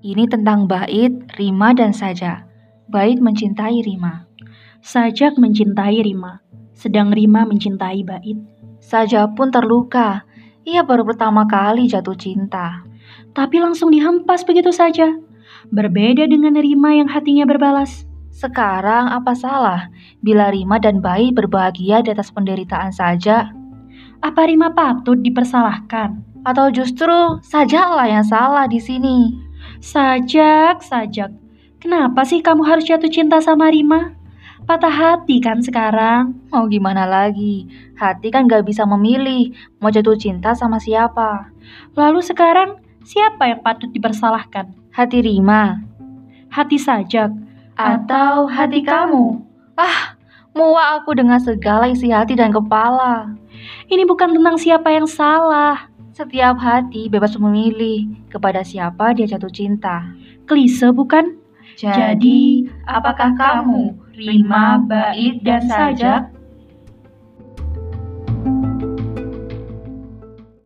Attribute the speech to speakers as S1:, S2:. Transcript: S1: Ini tentang Bait, Rima, dan Sajak. Bait mencintai Rima.
S2: Sajak mencintai Rima, sedang Rima mencintai Bait.
S1: Sajak pun terluka. Ia baru pertama kali jatuh cinta.
S2: Tapi langsung dihempas begitu saja. Berbeda dengan Rima yang hatinya berbalas.
S1: Sekarang apa salah bila Rima dan Bait berbahagia di atas penderitaan saja?
S2: Apa Rima patut dipersalahkan?
S1: Atau justru sajalah yang salah di sini?
S2: Sajak, sajak. Kenapa sih kamu harus jatuh cinta sama Rima? Patah hati kan sekarang?
S1: Mau gimana lagi? Hati kan gak bisa memilih mau jatuh cinta sama siapa.
S2: Lalu sekarang siapa yang patut dipersalahkan?
S1: Hati Rima.
S2: Hati sajak.
S1: Atau hati kamu? Ah, muak aku dengan segala isi hati dan kepala.
S2: Ini bukan tentang siapa yang salah.
S1: Setiap hati bebas memilih kepada siapa dia jatuh cinta.
S2: Klise bukan?
S1: Jadi, apakah kamu Rima, Bait, dan Sajak